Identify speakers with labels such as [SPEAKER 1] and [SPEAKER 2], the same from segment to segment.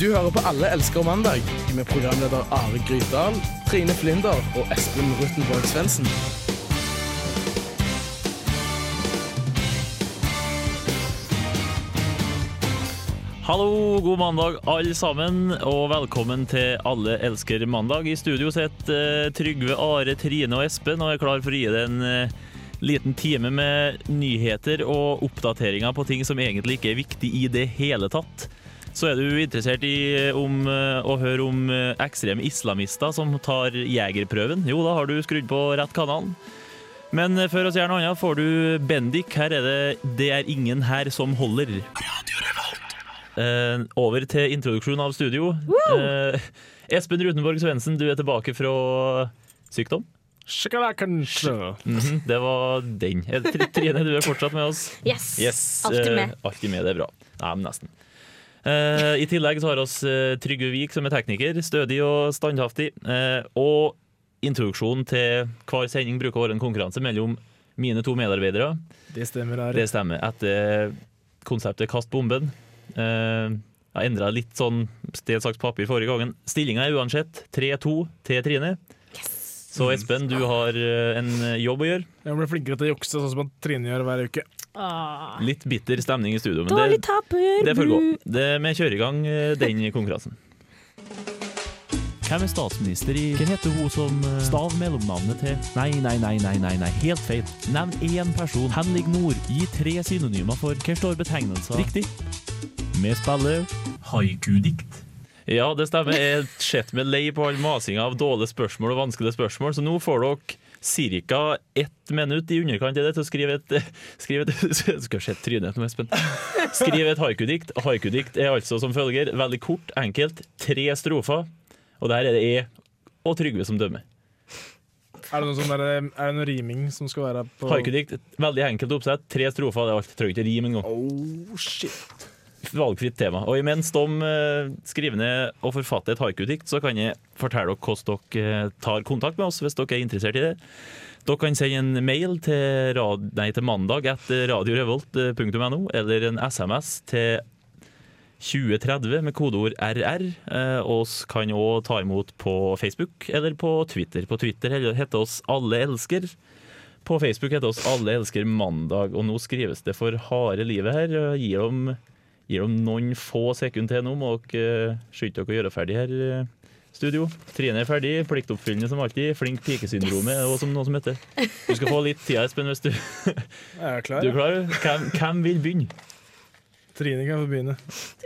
[SPEAKER 1] Du hører på Alle elsker mandag med programleder Are Grytdal, Trine Flinder og Espen Ruttenborg Svendsen.
[SPEAKER 2] Hallo, god mandag alle sammen, og velkommen til Alle elsker mandag. I studio sitter eh, Trygve, Are, Trine og Espen, og er klar for å gi det en eh, liten time med nyheter og oppdateringer på ting som egentlig ikke er viktig i det hele tatt. Så er du interessert i eh, om, eh, å høre om eh, ekstreme islamister som tar jegerprøven? Jo, da har du skrudd på rett kanal. Men eh, før oss gjør noe annet, får du Bendik. Her er det 'Det er ingen her som holder'. Eh, over til introduksjon av studio. Eh, Espen Rutenborg Svendsen, du er tilbake fra sykdom. Mhm, det var den. Eh, Tr- Trine, du er fortsatt med oss.
[SPEAKER 3] Yes.
[SPEAKER 2] Yes,
[SPEAKER 3] Alltid med.
[SPEAKER 2] eh, alltid med, det er bra. Nei, men nesten. Eh, I tillegg så har oss eh, Trygve Vik, som er tekniker. Stødig og standhaftig. Eh, og introduksjonen til hver sending bruker å være en konkurranse mellom mine to medarbeidere.
[SPEAKER 1] Det stemmer,
[SPEAKER 2] Det stemmer. Etter eh, konseptet Kast bomben. Eh, jeg endra litt sånn sted, saks, papir forrige gangen. Stillinga er uansett 3-2 til Trine. Så Espen, du har eh, en jobb å gjøre.
[SPEAKER 4] Jeg blir flinkere til å jukse, sånn som at Trine gjør hver uke.
[SPEAKER 3] Åh.
[SPEAKER 2] Litt bitter stemning i studio, men
[SPEAKER 3] Dårlig
[SPEAKER 2] det,
[SPEAKER 3] taper. Mm.
[SPEAKER 2] det får gå.
[SPEAKER 3] bu.
[SPEAKER 2] Det, vi kjører i gang eh, den konkurransen. Hvem er statsminister i Hvem heter hun som eh, stav mellomnavnet til Nei, nei, nei, nei, nei, nei, helt feil. Nevn én person. Henrik Nord. Gi tre synonymer for Hva står betegnelser? Riktig. Vi spiller haikudikt. Ja, det stemmer. Jeg setter meg lei på all masinga av dårlige spørsmål og vanskelige spørsmål, så nå får dere Cirka ett minutt i underkant av det til å skrive et Skrive et Du skal se trynet på Espen. Skriv et haikudikt. Haikudikt er altså som følger. Veldig kort, enkelt. Tre strofer. Og der er det E og Trygve som dømmer.
[SPEAKER 4] Er det noe, sånn der, er det noe riming som skal være på
[SPEAKER 2] Haikudikt, veldig enkelt oppsett. Tre strofer, det er alt. Trenger ikke rim engang.
[SPEAKER 4] Oh, shit.
[SPEAKER 2] valgfritt tema. Og imens de eh, skriver ned og forfatter et haikudikt, så kan jeg fortelle dere hvordan dere eh, tar kontakt med oss hvis dere er interessert i det. Dere kan sende en mail til, rad nei, til mandag eh, etter radiorevolt.no, eller en SMS til 2030 med kodeord RR. Eh, og oss kan også ta imot på Facebook eller på Twitter. På Twitter heter oss Alle elsker. På Facebook heter oss Alle elsker mandag, og nå skrives det for harde livet her. og Gir dem gir dem noen få sekunder til nå. Må dere eh, skynde dere å gjøre ferdig her, eh, studio. Trine er ferdig, pliktoppfyllende som alltid. Flink pikesyndromet og som noe som heter. Du skal få litt tid, Espen, hvis du, du
[SPEAKER 4] Er jeg klar?
[SPEAKER 2] er klar. Hvem, hvem vil begynne?
[SPEAKER 4] Trine kan få begynne.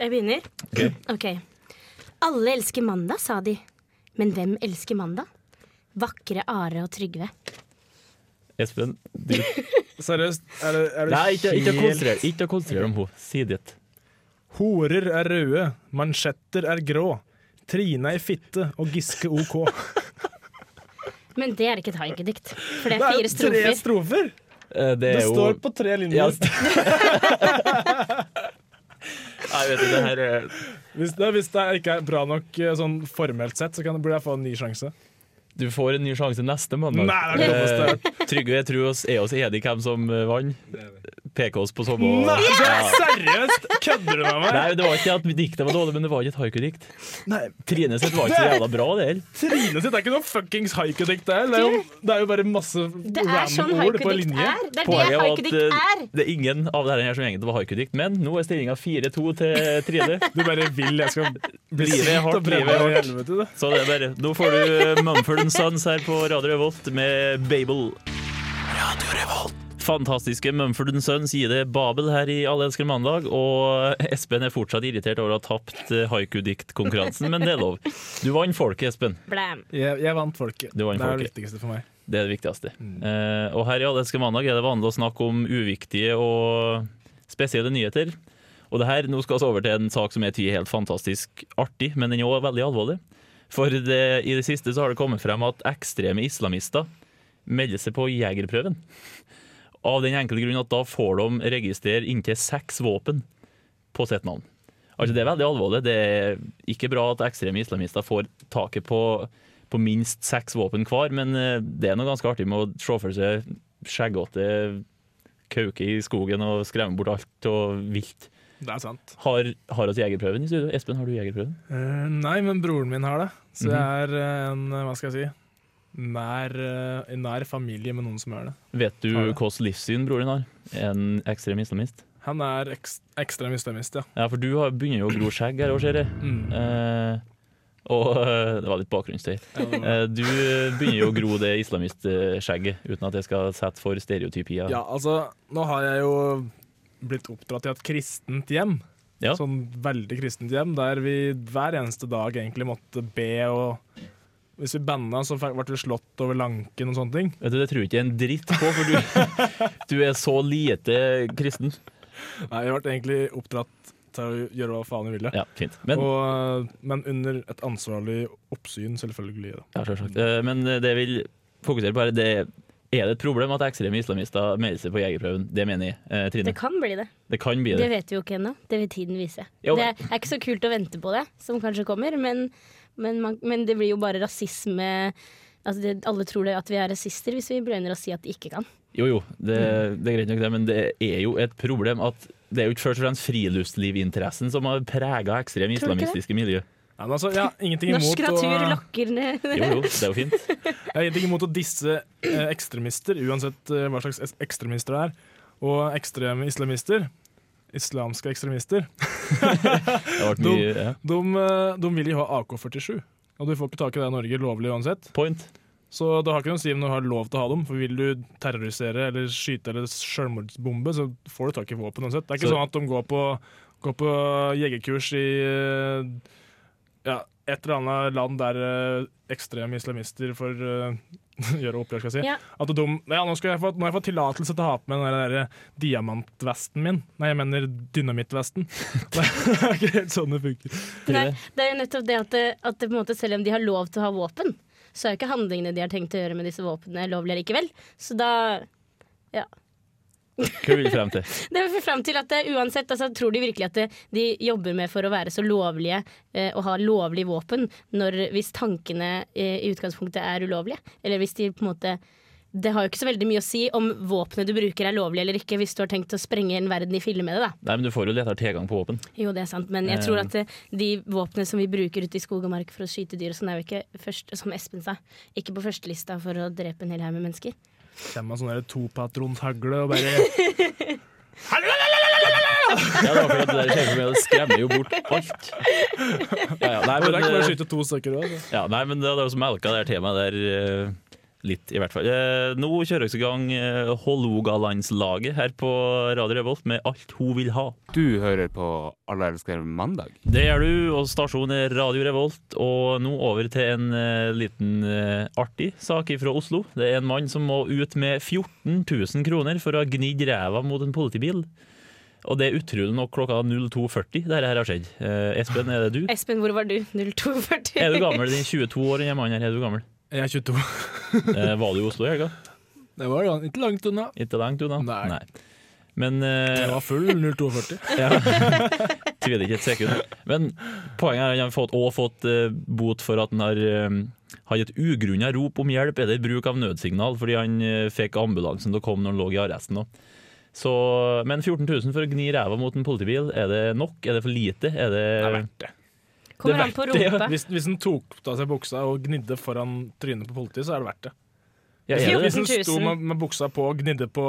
[SPEAKER 3] Jeg begynner. Ok. Alle elsker mandag, sa de. Men hvem elsker mandag? Vakre Are og Trygve.
[SPEAKER 2] Espen? Du,
[SPEAKER 4] Seriøst, er det, er det
[SPEAKER 2] nei, ikke, ikke
[SPEAKER 4] helt
[SPEAKER 2] konsentrere ikke konsentrere om henne. Si ditt.
[SPEAKER 4] Horer er røde, mansjetter er grå. Trine er fitte og Giske OK.
[SPEAKER 3] Men det er ikke et haikudikt, for det
[SPEAKER 4] Det
[SPEAKER 3] er
[SPEAKER 4] er
[SPEAKER 3] fire
[SPEAKER 4] jo tre
[SPEAKER 3] strofer.
[SPEAKER 4] strofer!
[SPEAKER 2] Eh, Det
[SPEAKER 4] Det
[SPEAKER 2] er jo
[SPEAKER 4] står på tre linjer.
[SPEAKER 2] Ja, st- Nei, vet du, det her er
[SPEAKER 4] Hvis, det, hvis det ikke er bra nok eh, sånn formelt sett, så kan det, burde jeg få en ny sjanse.
[SPEAKER 2] Du får en ny sjanse neste mandag.
[SPEAKER 4] Nei, det er det
[SPEAKER 2] Eh, Trygve, jeg tror oss, er oss enige hvem som eh, vant. PK oss på samme
[SPEAKER 4] Nei, det er
[SPEAKER 2] Ja.
[SPEAKER 4] seriøst! Kødder du med meg?
[SPEAKER 2] Nei, det var ikke at diktet var dårlig, men det var ikke et haikudikt.
[SPEAKER 4] Nei,
[SPEAKER 2] Trine sitt var ikke så jævla bra, det her.
[SPEAKER 4] Trine sitt er ikke noe fuckings haikudikt, det er. Det er jo, det er jo bare masse
[SPEAKER 3] Det er sånn
[SPEAKER 4] random ord på
[SPEAKER 3] haikudikt
[SPEAKER 4] linje.
[SPEAKER 3] er. Det er det
[SPEAKER 2] Poenget var at
[SPEAKER 3] haikudikt er.
[SPEAKER 2] eh, det er ingen av det her som egentlig var haikudikt, men nå er stillinga 4-2 til Trine.
[SPEAKER 4] Du bare vil jeg skal bli
[SPEAKER 2] Livet er
[SPEAKER 4] sint
[SPEAKER 2] hardt,
[SPEAKER 4] og brenne
[SPEAKER 2] livet er
[SPEAKER 4] meg i
[SPEAKER 2] hardt.
[SPEAKER 4] helvete. Det.
[SPEAKER 2] Så det er bare Nå får du eh, Mumford Sons her på Radio Revolt med Babel. Fantastiske Mumford Sons gir det Babel her i Alle elsker mandag. Og Espen er fortsatt irritert over å ha tapt eh, haikudiktkonkurransen, men det er lov. Du vant folket, Espen.
[SPEAKER 3] Blæm.
[SPEAKER 4] Jeg, jeg vant folket.
[SPEAKER 2] Du vant
[SPEAKER 4] det er det
[SPEAKER 2] folket.
[SPEAKER 4] viktigste for meg.
[SPEAKER 2] Det er det viktigste. Eh, og her i Allelske mandag er det vanlig å snakke om uviktige og spesielle nyheter. Og det her, nå skal vi over til en sak som jeg tyder helt fantastisk artig, men den er også veldig alvorlig. For det, i det siste så har det kommet frem at ekstreme islamister melder seg på jegerprøven. Av den enkle grunn at da får de registrere inntil seks våpen på sitt navn. Altså Det er veldig alvorlig. Det er ikke bra at ekstreme islamister får taket på, på minst seks våpen hver, men eh, det er noe ganske artig med å se for seg skjeggete kauke i skogen og skremme bort alt og vilt.
[SPEAKER 4] Det er sant.
[SPEAKER 2] Har, har oss jegerprøven i studio? Espen, har du jegerprøven?
[SPEAKER 4] Eh, nei, men broren min har det.
[SPEAKER 2] Mhm.
[SPEAKER 4] Så jeg er eh, en, hva skal jeg si, nær, eh, en nær familie med noen som gjør det.
[SPEAKER 2] Vet du
[SPEAKER 4] Har det.
[SPEAKER 2] hvilket livssyn broren har? En ekstrem islamist?
[SPEAKER 4] Han er ekst, ekstrem islamist, ja.
[SPEAKER 2] Ja, for du har, begynner jo å gro skjegg her òg, ser jeg.
[SPEAKER 4] Mm.
[SPEAKER 2] Eh, og eh, Det var litt bakgrunnsstøy. Eh, du begynner jo å gro det islamistskjegget, uten at jeg skal sette for stereotypier.
[SPEAKER 4] Ja, altså, nå har jeg jo blitt oppdratt i et kristent hjem.
[SPEAKER 2] Ja.
[SPEAKER 4] Sånn veldig kristent hjem, der vi hver eneste dag egentlig måtte be og Hvis vi banna, så fikk- ble vi slått over lanken og sånne ting.
[SPEAKER 2] Vet du, Det tror jeg ikke en dritt på, for du, du er så lite kristen.
[SPEAKER 4] Nei, vi ble egentlig oppdratt til å gjøre hva faen vi ville.
[SPEAKER 2] Ja, fint. Men,
[SPEAKER 4] og, eh, men under et ansvarlig oppsyn, selvfølgelig. Da.
[SPEAKER 2] ja, selvsagt. Eh, men det jeg vil fokusere på, er det er det et problem at ekstreme islamister melder seg på jegerprøven. Det mener jeg, eh, Trine.
[SPEAKER 3] Det kan bli det.
[SPEAKER 2] Det kan bli
[SPEAKER 3] Det
[SPEAKER 2] det.
[SPEAKER 3] vet vi jo ikke ennå. Det vil tiden vise.
[SPEAKER 2] Jo,
[SPEAKER 3] Det
[SPEAKER 2] men-
[SPEAKER 3] er ikke så kult å vente på det, som kanskje kommer, men, men, man, men det blir jo bare rasisme altså det, Alle tror det at vi er rasister hvis vi brøyner og sier at de ikke kan.
[SPEAKER 2] Jo, jo, det,
[SPEAKER 3] Mm.
[SPEAKER 2] det er greit nok det, men det er jo et problem at det er jo ikke først og fremst friluftslivinteressen som har prega ekstreme
[SPEAKER 3] Tror du ikke det?
[SPEAKER 2] islamistiske miljø.
[SPEAKER 4] Nei, men altså, jeg har ingenting
[SPEAKER 3] Norsk
[SPEAKER 4] imot
[SPEAKER 3] natur
[SPEAKER 4] å,
[SPEAKER 3] lokker ned
[SPEAKER 2] Jo, jo, det er jo fint.
[SPEAKER 4] jeg har ingenting imot å disse eh, ekstremister, uansett eh, hva slags es- ekstremister det er. Og ekstreme islamister, islamske ekstremister,
[SPEAKER 2] Det har vært mye ja.
[SPEAKER 4] de, eh, de vil jo ha AK-47. Og du får ikke tak i det i Norge lovlig uansett.
[SPEAKER 2] point.
[SPEAKER 4] Så det har ikke noe å si om du har lov til å ha dem. For vil du terrorisere eller skyte eller selvmordsbombe, så får du tak i våpen uansett. Det er ikke
[SPEAKER 2] Så-
[SPEAKER 4] sånn at de går på, går på jegerkurs i eh, ja, et eller annet land der eh, ekstreme islamister får eh, gjøre opprør, skal jeg si.
[SPEAKER 3] Ja.
[SPEAKER 4] At de, ja, nå, skal jeg få, nå har jeg fått tillatelse til å ha på meg den der eh, diamantvesten min. Nei, jeg mener dynamittvesten. Det er ikke helt sånn det funker.
[SPEAKER 3] Nei, det er jo nettopp det at, det- at det på en måte, selv om de har lov til å ha våpen, så er jo ikke handlingene de har tenkt å gjøre med disse våpnene, lovlige likevel. Så da
[SPEAKER 2] Hva vil du frem til?
[SPEAKER 3] Det er frem til at det, uansett, altså, Tror de virkelig at det, de jobber med for å være så lovlige eh, og ha lovlig våpen, når, hvis tankene eh, i utgangspunktet er ulovlige? Eller hvis de på en måte Det har jo ikke så veldig mye å si om våpenet du bruker er lovlig eller ikke, hvis du har tenkt å sprenge en verden i filler med det, da.
[SPEAKER 2] Nei, men du får jo lettere tilgang på våpen.
[SPEAKER 3] Jo, det er sant, men jeg
[SPEAKER 2] Eh.
[SPEAKER 3] tror at eh, de våpnene som vi bruker ute i skog og mark for å skyte dyr, og sånn er jo ikke først, som Espen sa, ikke på førstelista for å drepe en hel haug med mennesker.
[SPEAKER 4] Kommer med sånn der topatronhagle og bare
[SPEAKER 2] Ja, det var fordi at det der skjer for meg, det skremmer jo bort alt. Ja, ja, nei,
[SPEAKER 4] Men
[SPEAKER 2] men,
[SPEAKER 4] der kan man
[SPEAKER 2] eh,
[SPEAKER 4] skyte to stykker òg.
[SPEAKER 2] Ja, nei, men det det er jo som melka det her temaet der eh, litt, i hvert fall. Eh, Nå kjører vi i gang eh, Hålogalandslaget her på Radio Revolt med alt hun vil ha.
[SPEAKER 5] Du hører på Alle elsker mandag.
[SPEAKER 2] Det gjør du, og stasjonen er Radio Revolt. Og nå over til en eh, liten eh, artig sak fra Oslo. Det er en mann som må ut med 14 000 kroner for å ha gnidd ræva mot en politibil. Og det er utrolig nok klokka 02.40 der det her har skjedd. Eh, Espen, er det du?
[SPEAKER 3] Espen, hvor var du? 0240.
[SPEAKER 2] Er du gammel? Den 22 år den mannen her, er du gammel?
[SPEAKER 4] Jeg er 22.
[SPEAKER 2] Eh, var du i Oslo i helga?
[SPEAKER 4] Det var lang- ikke langt unna.
[SPEAKER 2] Ikke langt unna?
[SPEAKER 4] Nei.
[SPEAKER 2] Men eh,
[SPEAKER 4] Jeg var full 0240.
[SPEAKER 2] Ja. Tviler ikke et sekund. Men poenget er at han har fått, også fått eh, bot for at han har uh, hatt et ugrunna rop om hjelp eller bruk av nødsignal, fordi han eh, fikk ambulansen til å komme når han lå i arresten. også. Så, men 14 000 for å gni ræva mot en politibil, er det nok? Er det for lite? Er det,
[SPEAKER 4] Det er verdt det.
[SPEAKER 3] Kommer
[SPEAKER 2] det
[SPEAKER 3] an på
[SPEAKER 2] vet jeg,
[SPEAKER 3] rumpa.
[SPEAKER 4] Hvis, hvis den tok av seg buksa og gnidde foran trynet på politiet, så er det verdt det.
[SPEAKER 2] ja, er
[SPEAKER 4] Hvis den-
[SPEAKER 2] det?
[SPEAKER 4] Hvis den
[SPEAKER 3] 14 000.
[SPEAKER 4] sto med, med buksa på og gnidde på,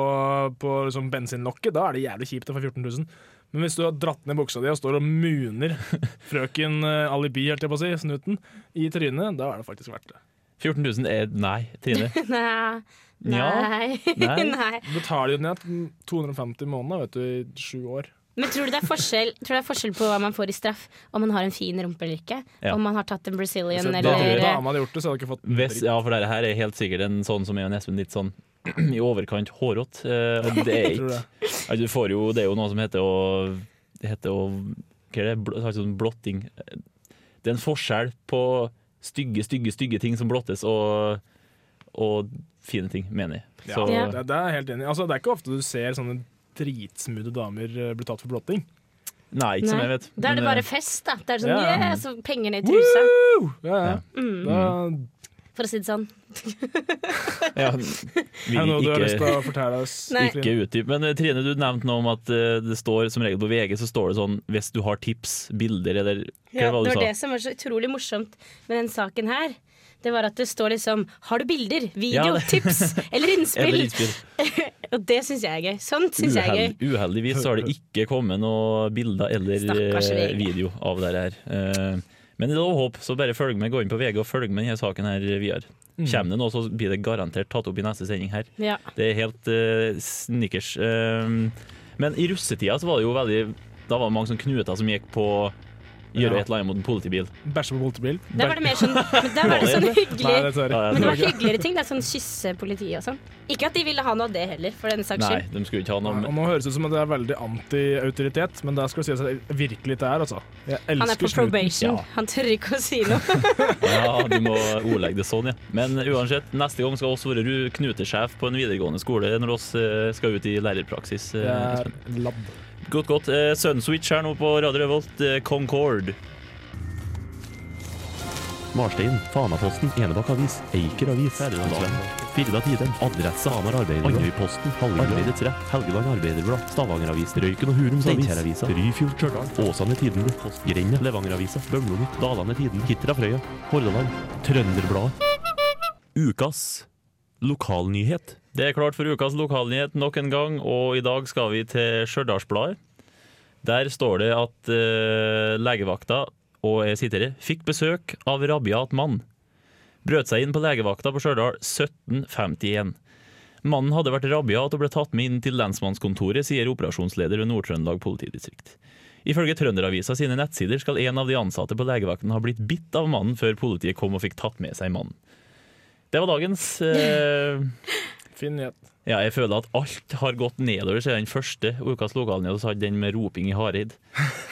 [SPEAKER 4] på liksom bensinlokket, da er det jævlig kjipt å få 14 000. Men hvis du har dratt ned buksa di og står og muner frøken eh, Alibi helt jeg på å si, snuten, i trynet, da er det faktisk verdt det.
[SPEAKER 2] 14 000 er Nei, Trine.
[SPEAKER 3] Nei.
[SPEAKER 2] Nja.
[SPEAKER 3] Nei.
[SPEAKER 2] Nei.
[SPEAKER 3] Nei.
[SPEAKER 4] Du betaler jo ned 250 i måneden vet du, i sju år.
[SPEAKER 3] Men tror du, det er forskjell, tror du det er forskjell på hva man får i straff? Om man har en fin rumpe eller ikke?
[SPEAKER 2] Ja. Altså,
[SPEAKER 3] Om man har tatt en Brazilian
[SPEAKER 4] Hvis en
[SPEAKER 2] tror
[SPEAKER 3] eller
[SPEAKER 2] jeg.
[SPEAKER 4] dame hadde gjort det, så hadde du ikke fått en
[SPEAKER 2] Hvis,
[SPEAKER 4] dritt.
[SPEAKER 2] ja, for dette her er helt sikkert en sånn som er jo nesten litt sånn i overkant hårete. eh, og det er
[SPEAKER 4] Tror
[SPEAKER 2] ikke
[SPEAKER 4] du det?
[SPEAKER 2] Ja, du får jo, det er jo noe som heter å Det heter å Hva er det? Bl sånn blotting. Det er en forskjell på stygge, stygge, stygge ting som blottes, og, og fine ting, mener jeg. Så,
[SPEAKER 3] Ja.
[SPEAKER 4] Det, det er jeg helt enig. i. Altså, det er ikke ofte du ser sånne dritsmudde damer eh, bli tatt for blotting.
[SPEAKER 2] Nei, ikke som jeg vet.
[SPEAKER 3] Da er det
[SPEAKER 2] men, eh,
[SPEAKER 3] bare fest, da. Det er sånn,
[SPEAKER 4] Ja.
[SPEAKER 3] yeah, så penger ned i trusa.
[SPEAKER 4] Ja, ja.
[SPEAKER 2] Ja. Mm.
[SPEAKER 4] Da,
[SPEAKER 3] Mm. for å si det sånn.
[SPEAKER 2] eh, Ja, vi
[SPEAKER 4] Er det noe du har lyst
[SPEAKER 2] ikke,
[SPEAKER 4] til å fortelle oss?
[SPEAKER 3] Nei.
[SPEAKER 2] ikke utdyp. Men eh, Trine, du nevnte noe om at eh, det står som regel på VG så står det sånn hvis du har tips, bilder eller hva
[SPEAKER 3] Ja, det
[SPEAKER 2] var det
[SPEAKER 3] var
[SPEAKER 2] du
[SPEAKER 3] det
[SPEAKER 2] sa?
[SPEAKER 3] som var så utrolig morsomt med den saken her. Det var at det står liksom 'Har du bilder? Video?
[SPEAKER 2] Ja, det-
[SPEAKER 3] Tips?
[SPEAKER 2] Eller
[SPEAKER 3] Eller innspill?'
[SPEAKER 2] innspill.
[SPEAKER 3] Og det syns jeg er gøy. Sånt syns jeg er gøy.
[SPEAKER 2] Uheld, uheldigvis så har det ikke kommet noen bilder eller
[SPEAKER 3] Stakkars
[SPEAKER 2] eh,
[SPEAKER 3] VG.
[SPEAKER 2] video av det her. Eh, Men det er lov håp, så bare følg med. Gå inn på VG og følg med denne saken her videre. Kommer det noe, så blir det garantert tatt opp i neste sending her.
[SPEAKER 3] Ja.
[SPEAKER 2] Det er helt uh, snickers. Eh, men i russetida så var det jo veldig Da var det mange sånne knuter som gikk på å gjøre
[SPEAKER 4] Ja.
[SPEAKER 2] et eller annet mot en politibil.
[SPEAKER 4] Bæsje på politibil?
[SPEAKER 3] Der var det mer sånn, men der var det sånn
[SPEAKER 4] Nei,
[SPEAKER 3] hyggelig
[SPEAKER 4] dessverre.
[SPEAKER 2] Ja, jeg
[SPEAKER 3] Men det
[SPEAKER 2] tror
[SPEAKER 3] var hyggeligere ting. Det er sånn kysse politiet og sånn. Ikke at de ville ha noe av det heller, for den saks
[SPEAKER 2] Nei,
[SPEAKER 3] skyld.
[SPEAKER 2] de skulle ikke ha noe
[SPEAKER 4] Og
[SPEAKER 2] med
[SPEAKER 4] nå høres det ut som at det er veldig anti-autoritet, men der skal det sies at jeg virkelig ikke er, altså. Jeg
[SPEAKER 3] Han er på
[SPEAKER 4] elsker snuten.
[SPEAKER 3] probation.
[SPEAKER 2] Ja.
[SPEAKER 3] Han tør ikke å si noe.
[SPEAKER 2] Ja, du må ordlegge det sånn, ja. Men uansett, neste gang skal oss være ru- knutesjef på en videregående skole når oss eh, skal ut i lærerpraksis. eh,
[SPEAKER 4] Det er
[SPEAKER 2] Espen.
[SPEAKER 4] labb.
[SPEAKER 2] Godt, godt. Eh, Sunswitch her nå på Radio Revolt, eh, Concord.
[SPEAKER 6] Marstein, Fanaposten, Enebakk Avis, Eiker Avis, Ferdinandsvenn, Firda Tiden, Adresse Hamar Arbeiderblad, Andøyposten, Hallingveidets Rett, Helgeland Arbeiderblad, Stavanger Avis, Røyken og Hurums Avis, Steinkjer-avisa, Ryfjord Stjørdal, Åsane Tidende, Grenda, Levanger-avisa, Bømlo, Dalane Tiden, Hitra Frøya, Hordaland, Trønderbladet. Ukas lokalnyhet.
[SPEAKER 2] Det er klart for ukas lokalnyhet nok en gang, og i dag skal vi til Stjørdalsbladet. Der står det at eh, legevakta, og jeg siterer, fikk besøk av rabiat mann. Brøt seg inn på legevakta på Stjørdal 1751. Mannen hadde vært rabiat og ble tatt med inn til lensmannskontoret, sier operasjonsleder ved Nord-Trøndelag politidistrikt. Ifølge Trønderavisa sine nettsider skal en av de ansatte på legevakten ha blitt bitt av mannen før politiet kom og fikk tatt med seg mannen. Det var dagens. eh,
[SPEAKER 4] Fin nyhet.
[SPEAKER 2] ja, jeg føler at alt har gått nedover siden den første ukas lokalnyhet, og så hadde den med roping i Hareid.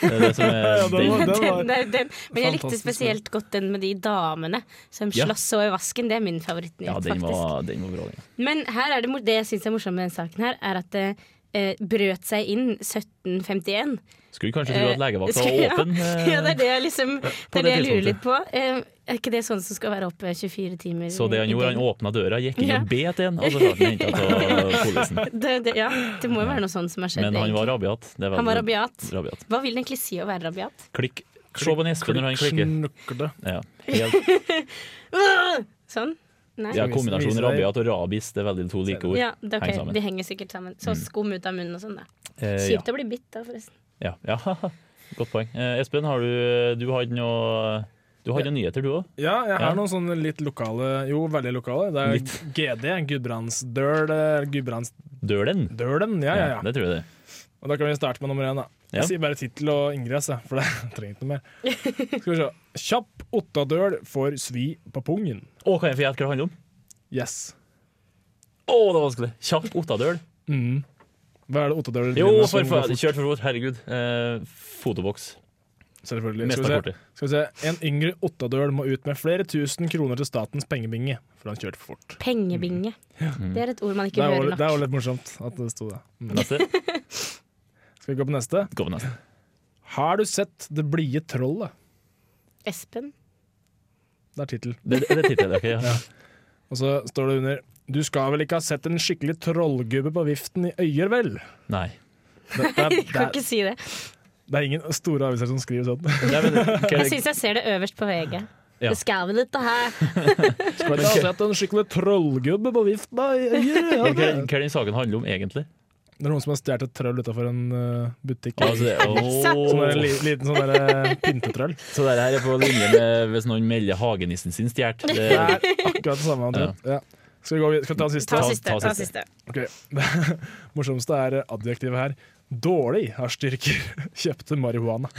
[SPEAKER 2] Det er det som er
[SPEAKER 4] Ja, den var-
[SPEAKER 2] den.
[SPEAKER 4] den-
[SPEAKER 3] Den, der- den. Men jeg likte
[SPEAKER 4] Fantastisk.
[SPEAKER 3] spesielt godt den med de damene som
[SPEAKER 2] Ja.
[SPEAKER 3] slåss så i vasken. Det er min favorittnyhet,
[SPEAKER 2] Ja, den
[SPEAKER 3] faktisk.
[SPEAKER 2] var, den var bra. den.
[SPEAKER 3] Men her er det, mor- det jeg syns er morsomt med den saken, her, er at det eh, brøt seg inn 1751.
[SPEAKER 2] Skulle kanskje tro at legevakta var
[SPEAKER 3] Skal- Eh, ja.
[SPEAKER 2] åpen. eh,
[SPEAKER 3] Ja, det er det jeg, liksom, det
[SPEAKER 2] på
[SPEAKER 3] er
[SPEAKER 2] det
[SPEAKER 3] det jeg lurer
[SPEAKER 2] tidspunktet.
[SPEAKER 3] litt på. Eh, er ikke det sånn som skal være oppe 24 timer?
[SPEAKER 2] Så det han
[SPEAKER 3] i
[SPEAKER 2] gjorde, han
[SPEAKER 3] døgnet?
[SPEAKER 2] åpna døra, gikk inn
[SPEAKER 3] Ja.
[SPEAKER 2] og bet en, og så ble han henta av politiet.
[SPEAKER 3] det, det, ja, det må jo være noe sånn som har skjedd.
[SPEAKER 2] Men han var
[SPEAKER 3] egentlig.
[SPEAKER 2] rabiat. Det er
[SPEAKER 3] han var
[SPEAKER 2] veldig-
[SPEAKER 3] rabiat.
[SPEAKER 2] rabiat.
[SPEAKER 3] Hva vil det egentlig si å være rabiat?
[SPEAKER 2] Klikk. Se på Espen når han klikker.
[SPEAKER 4] Snukle.
[SPEAKER 2] Ja, helt,
[SPEAKER 3] Sånn? Nei?
[SPEAKER 2] ja kombinasjonen rabiat og rabis, det er veldig to like ord.
[SPEAKER 3] Ja, det er ok.
[SPEAKER 2] Heng sammen. Mm.
[SPEAKER 3] De henger sikkert sammen. Så skum ut av munnen og sånn, da.
[SPEAKER 2] Eh, ja.
[SPEAKER 3] Kjipt å bli bitt, da, forresten.
[SPEAKER 2] Ja, ja. Godt poeng. Eh, Espen, har du, du hadde noe du hadde noen nyheter, du òg?
[SPEAKER 4] Ja, jeg
[SPEAKER 2] Ja.
[SPEAKER 4] har noen sånne litt lokale Jo, veldig lokale. Det er GD, Gudbrandsdøl eh, Gudbrandsdølen,
[SPEAKER 2] Dølen?
[SPEAKER 4] ja, ja, ja.
[SPEAKER 2] Det tror jeg det.
[SPEAKER 4] Og da kan vi starte med nummer én, da.
[SPEAKER 2] Ja.
[SPEAKER 4] Jeg sier bare tittel og ingress, jeg, for det jeg trenger ikke noe mer. Skal vi se. Kjapp ottadøl får svi på pungen.
[SPEAKER 2] Å, kan jeg få gjette hva det handler om?
[SPEAKER 4] Yes.
[SPEAKER 2] Å, det er vanskelig! Kjapp Ottadøl.
[SPEAKER 4] Mm. Hva er det ottadøl
[SPEAKER 2] Jo,
[SPEAKER 4] driver med som
[SPEAKER 2] for
[SPEAKER 4] går
[SPEAKER 2] faen!
[SPEAKER 4] fort?
[SPEAKER 2] Kjørt for fort. Herregud. Eh, fotoboks.
[SPEAKER 4] Selvfølgelig.
[SPEAKER 2] Mest
[SPEAKER 4] Skal
[SPEAKER 2] av
[SPEAKER 4] vi,
[SPEAKER 2] kortet.
[SPEAKER 4] se. Skal vi se. En yngre ottadøl må ut med flere tusen kroner til statens pengebinge, for han kjørte for fort.
[SPEAKER 3] Pengebinge.
[SPEAKER 2] Mm.
[SPEAKER 3] Det er et ord man
[SPEAKER 4] Det
[SPEAKER 3] ikke
[SPEAKER 4] er
[SPEAKER 3] hører
[SPEAKER 4] jo- det er jo
[SPEAKER 3] nok.
[SPEAKER 4] litt morsomt at det sto det. Mm.
[SPEAKER 2] Neste.
[SPEAKER 4] Skal vi gå på neste?
[SPEAKER 2] Gå på neste.
[SPEAKER 4] Har du sett Det blide trollet?
[SPEAKER 3] Espen.
[SPEAKER 4] Det er tittel.
[SPEAKER 2] Det, det er tittelen. ok, ja.
[SPEAKER 4] Og så står det under Du skal vel ikke ha sett en skikkelig trollgubbe på viften i Øyer, vel?
[SPEAKER 2] Nei.
[SPEAKER 4] Det, det, er,
[SPEAKER 3] Jeg
[SPEAKER 4] det,
[SPEAKER 3] kan
[SPEAKER 4] er,
[SPEAKER 3] ikke si det.
[SPEAKER 4] det er ingen store aviser som skriver sånn.
[SPEAKER 2] Nei, men, hva er
[SPEAKER 3] Jeg
[SPEAKER 2] det-
[SPEAKER 3] syns jeg ser det øverst på VG.
[SPEAKER 2] Ja.
[SPEAKER 3] Det skal vel dette her.
[SPEAKER 4] Skal vel ikke ha sett en skikkelig trollgubbe på vifta i Øyer?
[SPEAKER 2] hva
[SPEAKER 4] Ja.
[SPEAKER 2] er det- hva er den saken handler om, egentlig?
[SPEAKER 4] Det er noen som har stjålet et trøll utafor en eh, butikk.
[SPEAKER 2] Altså, det-
[SPEAKER 3] sant.
[SPEAKER 4] Sånn der,
[SPEAKER 2] Åh.
[SPEAKER 4] en li, liten sånn der, eh, pyntetrøll.
[SPEAKER 2] så det her er på linje med hvis noen melder hagenissen sin stjålet.
[SPEAKER 4] Det
[SPEAKER 2] Det-
[SPEAKER 4] er akkurat det samme. Andre. Ja. Skal vi gå vid- Skal vi ta den siste?
[SPEAKER 3] Ta
[SPEAKER 2] Ta-
[SPEAKER 3] siste.
[SPEAKER 2] ta
[SPEAKER 3] Ta
[SPEAKER 2] siste.
[SPEAKER 3] siste.
[SPEAKER 4] Ok. Det morsomste er adjektivet her. Dårlig har styrker. Kjøpte marihuana.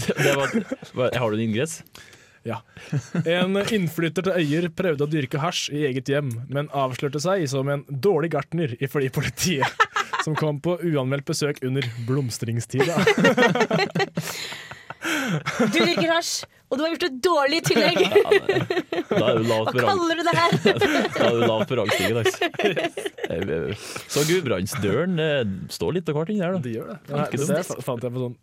[SPEAKER 2] det var, hva- har du en ingress?
[SPEAKER 4] Ja. En innflytter til Øyer prøvde å dyrke hasj i eget hjem, men avslørte seg som en dårlig gartner ifølge politiet, som kom på uanmeldt besøk under blomstringstida.
[SPEAKER 3] Du dyrker hasj, og du har gjort det dårlig i tillegg!
[SPEAKER 2] Da er du lavt
[SPEAKER 3] Hva
[SPEAKER 2] på rang-
[SPEAKER 3] kaller du det her?
[SPEAKER 2] da er du lavt på rangstigen. altså. Så eh. Gudbrandsdølen eh, står litt av hvert inni der, da.
[SPEAKER 4] De gjør det. Nei,
[SPEAKER 2] Ikke
[SPEAKER 4] det fant jeg på sånn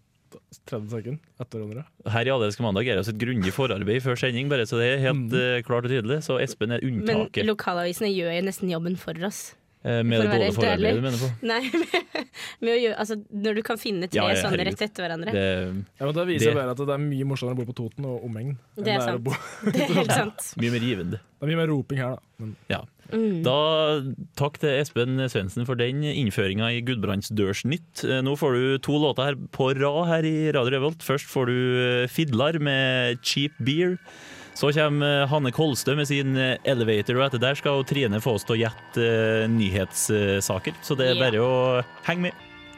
[SPEAKER 4] 30 sekunder etter hverandre.
[SPEAKER 2] Her i Allerske mandag er det altså et grundig forarbeid før sending, bare så det er helt eh, klart og tydelig. Så Espen er
[SPEAKER 3] Mhm. Men
[SPEAKER 2] unntaket
[SPEAKER 3] lokalavisene gjør jo nesten jobben for oss.
[SPEAKER 2] eh, med
[SPEAKER 3] for
[SPEAKER 2] det
[SPEAKER 3] å være
[SPEAKER 2] dårlige
[SPEAKER 3] helt ærlig.
[SPEAKER 2] forarbeidet du mener på.
[SPEAKER 3] Nei, med å gjøre, altså, når du kan finne tre
[SPEAKER 2] Ja, ja,
[SPEAKER 3] sånne
[SPEAKER 2] herregud.
[SPEAKER 3] rett etter hverandre.
[SPEAKER 2] Det,
[SPEAKER 4] Ja, men Da viser
[SPEAKER 2] Det-
[SPEAKER 4] det bare at det er mye morsommere å bo på Toten og omegn. enn
[SPEAKER 3] Det er
[SPEAKER 4] å
[SPEAKER 3] sant.
[SPEAKER 4] bo-
[SPEAKER 3] Det er helt sant.
[SPEAKER 2] mye mer givende.
[SPEAKER 4] Det er mye mer roping her, da. Men
[SPEAKER 2] Ja.
[SPEAKER 3] Mm.
[SPEAKER 2] Da Takk til Espen Svendsen for den innføringa i Gudbrandsdørsnytt. Eh, Nå får du to låter her på rad her i Radio Revolt. Først får du eh, Fidlar med Cheap Beer. Så kommer eh, Hanne Kolstø med sin eh, Elevator, og etter der skal jo Trine få oss til å gjette eh, nyhetssaker. Så det er
[SPEAKER 3] Ja.
[SPEAKER 2] bare å henge med.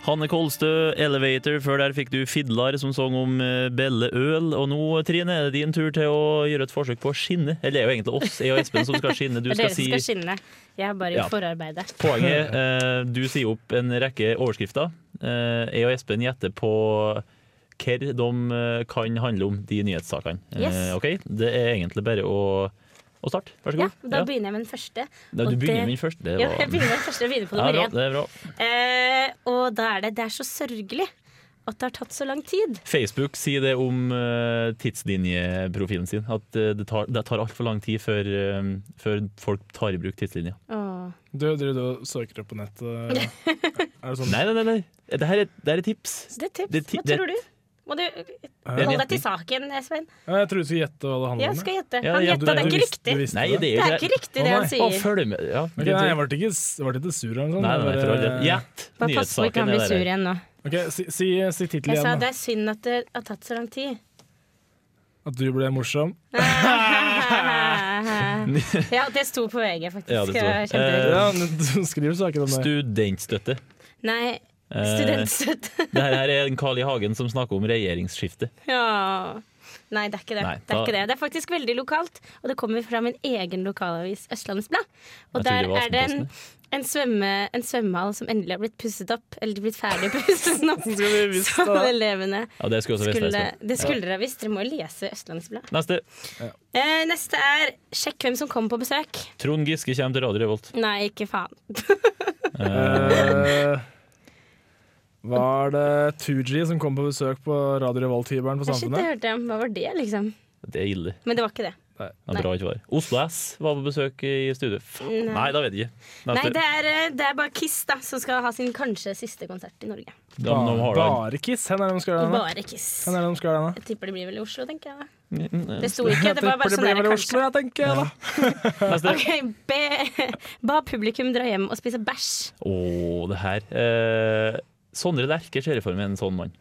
[SPEAKER 2] Hanne Kolstø, Elevator. Før der fikk du Fidlar som sang om eh, Belle Øl. Og nå, Trine, er det din tur til å gjøre et forsøk på å skinne. Eller det er jo egentlig oss, jeg og Espen, som skal skinne. Du skal
[SPEAKER 3] Det er dere som
[SPEAKER 2] si
[SPEAKER 3] skal skinne. Jeg har bare
[SPEAKER 2] Ja.
[SPEAKER 3] gjort forarbeidet.
[SPEAKER 2] Poenget eh, Du sier opp en rekke overskrifter. Eh, jeg og Espen gjetter på hva de eh, kan handle om, de nyhetssakene. Eh,
[SPEAKER 3] Yes.
[SPEAKER 2] ok? Det er egentlig bare å, å starte. Vær så
[SPEAKER 3] Ja,
[SPEAKER 2] god.
[SPEAKER 3] da
[SPEAKER 2] Ja.
[SPEAKER 3] begynner jeg med den første.
[SPEAKER 2] Da, du
[SPEAKER 3] og
[SPEAKER 2] begynner
[SPEAKER 3] det-
[SPEAKER 2] min først. Det
[SPEAKER 3] Ja,
[SPEAKER 2] var
[SPEAKER 3] jeg begynner med den første. Jeg begynner på
[SPEAKER 2] Ja,
[SPEAKER 3] nummer
[SPEAKER 2] bra,
[SPEAKER 3] én.
[SPEAKER 2] det er bra.
[SPEAKER 3] Eh, og da er det Det er så sørgelig at det har tatt så lang tid.
[SPEAKER 2] Facebook sier det om eh, tidslinjeprofilen sin. At eh, det tar, det tar altfor lang tid før, eh, før folk tar i bruk tidslinja.
[SPEAKER 3] Åh.
[SPEAKER 4] du driver du og søker opp på nettet? Er det sånn
[SPEAKER 2] Nei, nei, nei. nei. Det her er, det her er tips.
[SPEAKER 3] Så det er tips.
[SPEAKER 2] Det er ti-
[SPEAKER 3] Hva
[SPEAKER 2] det-
[SPEAKER 3] tror du? Må du
[SPEAKER 4] Eh,
[SPEAKER 2] Det er
[SPEAKER 3] holde deg
[SPEAKER 2] gjetning.
[SPEAKER 3] til saken, Svein?
[SPEAKER 4] ja, Jeg trodde du skulle gjette hva det handla
[SPEAKER 3] Jeg
[SPEAKER 4] om.
[SPEAKER 3] skal gjette.
[SPEAKER 2] Ja,
[SPEAKER 3] Han
[SPEAKER 2] ja,
[SPEAKER 3] gjetta, det er ikke riktig.
[SPEAKER 2] Nei, det er
[SPEAKER 3] Det er
[SPEAKER 2] jo
[SPEAKER 3] ikke riktig det
[SPEAKER 4] Å,
[SPEAKER 3] han
[SPEAKER 4] nei.
[SPEAKER 2] Å,
[SPEAKER 3] sier.
[SPEAKER 2] følg med. Ja,
[SPEAKER 4] Ok, nei, jeg ble ikke, jeg ble ikke sur eller noe
[SPEAKER 2] Nei,
[SPEAKER 4] sånt.
[SPEAKER 2] nei, nei,
[SPEAKER 4] jeg
[SPEAKER 2] for all
[SPEAKER 4] bare-
[SPEAKER 2] del. Gjett
[SPEAKER 3] Bare pass på ikke
[SPEAKER 2] nyhetssaken.
[SPEAKER 3] han blir
[SPEAKER 2] er
[SPEAKER 3] sur
[SPEAKER 2] der.
[SPEAKER 3] igjen nå.
[SPEAKER 4] Ok, Si, si, si tittelen
[SPEAKER 3] Jeg sa
[SPEAKER 4] igjen,
[SPEAKER 3] det
[SPEAKER 4] da.
[SPEAKER 3] er synd at det har tatt så lang tid.
[SPEAKER 4] At du ble morsom.
[SPEAKER 3] Ja, det sto på VG, faktisk.
[SPEAKER 2] Ja, det sto.
[SPEAKER 3] Jeg kjente det.
[SPEAKER 4] Ja, men du skriver saker om det.
[SPEAKER 2] Studentstøtte.
[SPEAKER 3] Nei,
[SPEAKER 2] Eh,
[SPEAKER 3] studentstøtte.
[SPEAKER 2] det her er en Carl I. Hagen som snakker om regjeringsskifte.
[SPEAKER 3] ja. Nei, det er ikke det.
[SPEAKER 2] Nei,
[SPEAKER 3] det er
[SPEAKER 2] da-
[SPEAKER 3] ikke det. Det er faktisk veldig lokalt, og det kommer fra min egen lokalavis, Østlandets Blad. Og
[SPEAKER 2] Jeg trodde
[SPEAKER 3] der
[SPEAKER 2] det var
[SPEAKER 3] er det en, en, svømme, en svømmehall som endelig har blitt pusset opp, eller de er blitt ferdig pusset opp,
[SPEAKER 4] Skulle vi visst
[SPEAKER 3] som
[SPEAKER 4] da.
[SPEAKER 3] elevene
[SPEAKER 2] Ja, det skulle også visst
[SPEAKER 3] skulle
[SPEAKER 2] jeg skulle.
[SPEAKER 3] Det skulle dere ha visst. Dere må jo lese Østlandets Blad.
[SPEAKER 2] Neste.
[SPEAKER 3] Eh, neste er 'Sjekk hvem som kommer på besøk'.
[SPEAKER 2] Trond Giske kommer til Radio Revolt.
[SPEAKER 3] Nei, ikke faen.
[SPEAKER 4] Eh, var det Tooji som kom på besøk på Radio Revolt-hybelen på
[SPEAKER 3] Shit, det
[SPEAKER 4] Samfunnet?
[SPEAKER 3] hørte jeg. Hva var det, liksom?
[SPEAKER 2] Det er ille.
[SPEAKER 3] Men det var ikke det.
[SPEAKER 2] Det er bra ikke var. Oslo S var på besøk i studio. Faen,
[SPEAKER 3] Nei.
[SPEAKER 2] Nei, da vet jeg ikke.
[SPEAKER 3] Nei,
[SPEAKER 2] Neste.
[SPEAKER 3] det er, eh, det er bare Kiss da som skal ha sin kanskje siste konsert i Norge.
[SPEAKER 2] Da, nå
[SPEAKER 4] Bare,
[SPEAKER 2] har du
[SPEAKER 4] bare Kiss? Hvor er det de skal gjøre den? da?
[SPEAKER 3] Bare Kiss.
[SPEAKER 4] Hvor er det de skal gjøre den? da?
[SPEAKER 3] Jeg tipper det blir vel i Oslo, tenker jeg. da.
[SPEAKER 2] Mm,
[SPEAKER 3] Det sto ikke, det var bare
[SPEAKER 4] Det
[SPEAKER 3] sånn
[SPEAKER 4] blir
[SPEAKER 3] der
[SPEAKER 4] vel i Oslo,
[SPEAKER 3] kanskje.
[SPEAKER 4] jeg tenker jeg, da.
[SPEAKER 2] Neste.
[SPEAKER 3] Ok, be, ba publikum dra hjem og spise bæsj.
[SPEAKER 2] Å, det her. Eh, Sondre Lerche ser jeg for meg en sånn mann.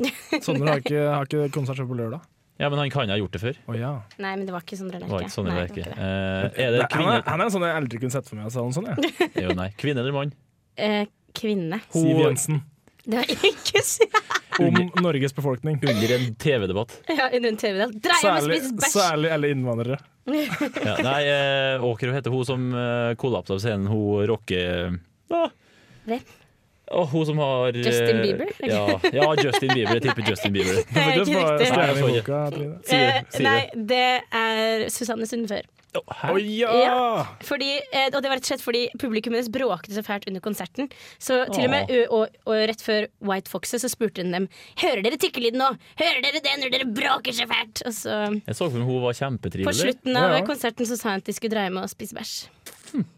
[SPEAKER 4] Sondre har ikke, har ikke konsert på lørdag.
[SPEAKER 2] Ja, men han kan ha gjort det før.
[SPEAKER 4] Å ja.
[SPEAKER 3] Nei, men det var ikke Sondre
[SPEAKER 2] Det var
[SPEAKER 3] Lerche.
[SPEAKER 2] ikke sånn Sondre
[SPEAKER 3] Nei, det
[SPEAKER 2] Lerche.
[SPEAKER 3] var ikke det.
[SPEAKER 2] Eh, er det
[SPEAKER 4] Nei, han, er,
[SPEAKER 2] kvinne?
[SPEAKER 4] han er en sånn jeg aldri kunne sett for meg. sa han Sånn, jeg.
[SPEAKER 2] Jo, nei. Kvinne eller mann?
[SPEAKER 3] Eh, Kvinne.
[SPEAKER 4] Siv
[SPEAKER 2] Hun-
[SPEAKER 4] Jensen.
[SPEAKER 3] Det var ikke Siv.
[SPEAKER 4] Om Norges befolkning.
[SPEAKER 2] Under en TV-debatt.
[SPEAKER 3] Ja, under en TV-del. Dra hjem og
[SPEAKER 4] Særlig,
[SPEAKER 3] spise bæsj!
[SPEAKER 4] særlig alle innvandrere.
[SPEAKER 2] Ja, nei, eh, Åker heter hun som eh, kollapsa på scenen. Hun rocker ah.
[SPEAKER 3] Hvem?
[SPEAKER 2] Å, hun som har eh,
[SPEAKER 3] Justin Bieber?
[SPEAKER 2] Ja, ja, Justin Bieber. Jeg tipper Justin Bieber.
[SPEAKER 3] Det er
[SPEAKER 4] Hvilket
[SPEAKER 3] ikke
[SPEAKER 4] var
[SPEAKER 3] riktig.
[SPEAKER 4] stjernen
[SPEAKER 2] Nei,
[SPEAKER 4] i
[SPEAKER 2] jeg
[SPEAKER 4] boka, Trine?
[SPEAKER 2] det,
[SPEAKER 3] Eh,
[SPEAKER 2] si det.
[SPEAKER 3] Nei, det er Susanne Sundfør.
[SPEAKER 2] Å, hæ?
[SPEAKER 4] Å ja!
[SPEAKER 3] Fordi, eh, og det var rett og slett fordi publikum hennes bråkte så fælt under konserten. Så til og med ø, og, og rett før White Foxes så spurte hun dem Hører dere tikkelyden nå? Hører dere det når dere bråker så fælt? Og så
[SPEAKER 2] Jeg så for meg hun var kjempetrivelig.
[SPEAKER 3] på slutten av
[SPEAKER 4] Ja, ja.
[SPEAKER 3] konserten så sa hun at de skulle dreie med å spise bæsj.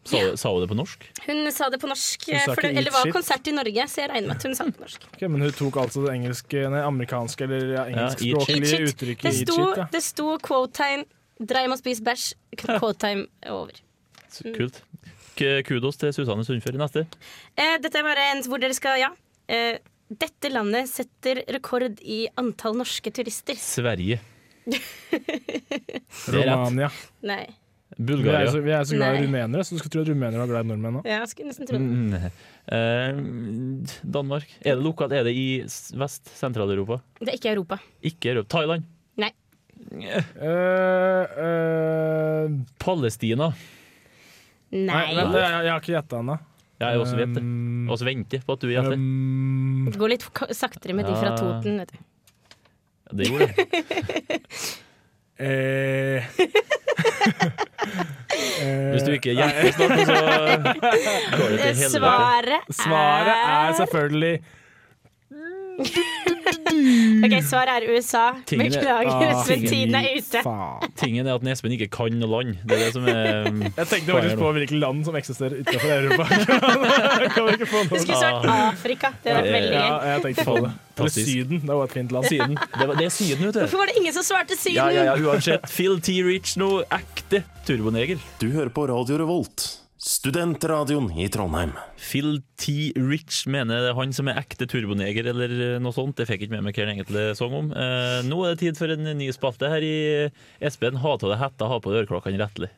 [SPEAKER 2] Sa, sa hun det på norsk?
[SPEAKER 3] Hun sa det på norsk, eh,
[SPEAKER 4] Hun sa
[SPEAKER 3] for
[SPEAKER 4] ikke
[SPEAKER 3] det, eller
[SPEAKER 4] eat
[SPEAKER 3] det var
[SPEAKER 4] shit.
[SPEAKER 3] konsert i Norge, så jeg regner med at hun sa det på norsk.
[SPEAKER 4] Ok, men hun tok altså det engelske, nei, amerikanske eller ja,
[SPEAKER 3] Eat
[SPEAKER 4] engelskspråklige
[SPEAKER 3] shit.
[SPEAKER 4] uttrykket
[SPEAKER 3] Det
[SPEAKER 4] eat
[SPEAKER 3] sto,
[SPEAKER 4] shit. Ja.
[SPEAKER 3] det sto quote-tegn 'dreie med å spise bæsj', quote-time over.
[SPEAKER 2] Så Mm. Kult. K- Kudos til Susanne Sundfør i neste.
[SPEAKER 3] Eh, dette er bare en hvor dere skal Ja. Eh, dette landet setter rekord i antall norske turister.
[SPEAKER 2] Sverige. Det er rett.
[SPEAKER 4] Romania.
[SPEAKER 3] Nei.
[SPEAKER 4] Vi er,
[SPEAKER 2] Bulgaria.
[SPEAKER 4] så, vi er så glad i
[SPEAKER 3] Nei.
[SPEAKER 4] rumenere, så du skulle tro at rumenere var glad i nordmenn òg.
[SPEAKER 3] Ja, jeg skulle nesten tro det.
[SPEAKER 2] Mm, eh, Danmark. Er det lokalt? Er det i s- vest? Sentral-Europa?
[SPEAKER 3] Det er ikke Europa.
[SPEAKER 2] Ikke Europa. Thailand.
[SPEAKER 4] Eh,
[SPEAKER 2] Palestina.
[SPEAKER 3] Nei.
[SPEAKER 4] nei, vent, jeg, jeg har ikke gjetta ennå.
[SPEAKER 2] Ja, jeg også vet det.
[SPEAKER 4] Um,
[SPEAKER 2] Vi venter på at du gjetter.
[SPEAKER 4] um,
[SPEAKER 3] Det går litt ka- saktere med de
[SPEAKER 2] Ja.
[SPEAKER 3] fra Toten. Vet du.
[SPEAKER 2] Ja, Det gjorde det.
[SPEAKER 4] eh, eh,
[SPEAKER 2] Hvis du ikke hjelper snart, så går det til helvete.
[SPEAKER 3] Eh, Svaret er
[SPEAKER 4] Svaret er selvfølgelig
[SPEAKER 3] OK, svaret er USA.
[SPEAKER 2] Tingene-
[SPEAKER 3] Beklager,
[SPEAKER 4] Ah,
[SPEAKER 3] Espen. Tiden er ute.
[SPEAKER 4] Faen.
[SPEAKER 2] Tingen er at Espen ikke kan noe land. Det er det som er um,
[SPEAKER 4] Jeg tenkte faktisk på hvilke land som eksisterer utenfor Europa. kan vi ikke få
[SPEAKER 3] Du
[SPEAKER 4] noe?
[SPEAKER 3] skulle svart Afrika. Det hadde
[SPEAKER 2] Ja,
[SPEAKER 3] vært veldig
[SPEAKER 4] Ja,
[SPEAKER 3] gøy.
[SPEAKER 4] jeg tenkte på det. Eller
[SPEAKER 2] Fantastisk.
[SPEAKER 4] Syden. Det var et fint land.
[SPEAKER 2] Syden. Det, var- det er Syden, vet du.
[SPEAKER 3] Hvorfor var det ingen som svarte Syden?
[SPEAKER 2] Ja, ja, ja, uansett. Phil T. Rich nå, ekte turboneger.
[SPEAKER 7] Du hører på Radio Revolt, studentradioen i Trondheim.
[SPEAKER 2] Phil T. Rich mener det er han som er ekte turboneger, eller eh, noe sånt. Det fikk jeg ikke med meg hva han egentlig sang om. Eh, nå er det tid for en ny spalte her i Espen. Ha av deg hetta, ha på deg øreklokkene rettelig.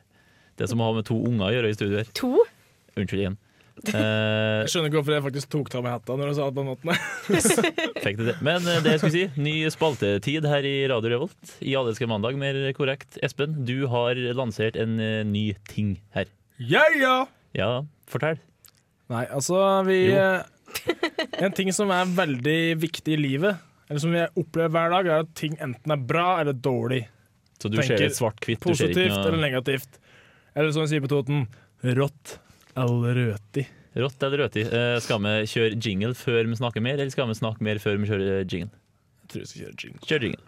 [SPEAKER 2] Det som har med to unger å gjøre i studio her.
[SPEAKER 3] To?
[SPEAKER 2] Unnskyld igjen. Eh,
[SPEAKER 4] Jeg skjønner ikke hvorfor jeg faktisk tok av meg hetta når du sa det på den måten.
[SPEAKER 2] fikk det til. Men eh, det jeg skulle si, ny spaltetid her i Radio Revolt. I Allelske mandag, mer korrekt. Espen, du har lansert en eh, ny ting her.
[SPEAKER 4] Ja, ja!
[SPEAKER 2] Ja, fortell.
[SPEAKER 4] Nei, altså, vi
[SPEAKER 2] Jo.
[SPEAKER 4] eh, En ting som er veldig viktig i livet, eller som jeg opplever hver dag, er at ting enten er bra eller dårlig.
[SPEAKER 2] Så du
[SPEAKER 4] Tenker
[SPEAKER 2] ser det svart-hvitt? du ser ikke
[SPEAKER 4] Positivt
[SPEAKER 2] noe-
[SPEAKER 4] eller negativt. Eller som vi sier på Toten, rått eller røti.
[SPEAKER 2] Rått eller røti? Eh, skal vi kjøre jingle før vi snakker mer, eller skal vi snakke mer før vi kjører jingle?
[SPEAKER 4] Jeg tror vi skal kjøre jingle.
[SPEAKER 2] Kjør jingle.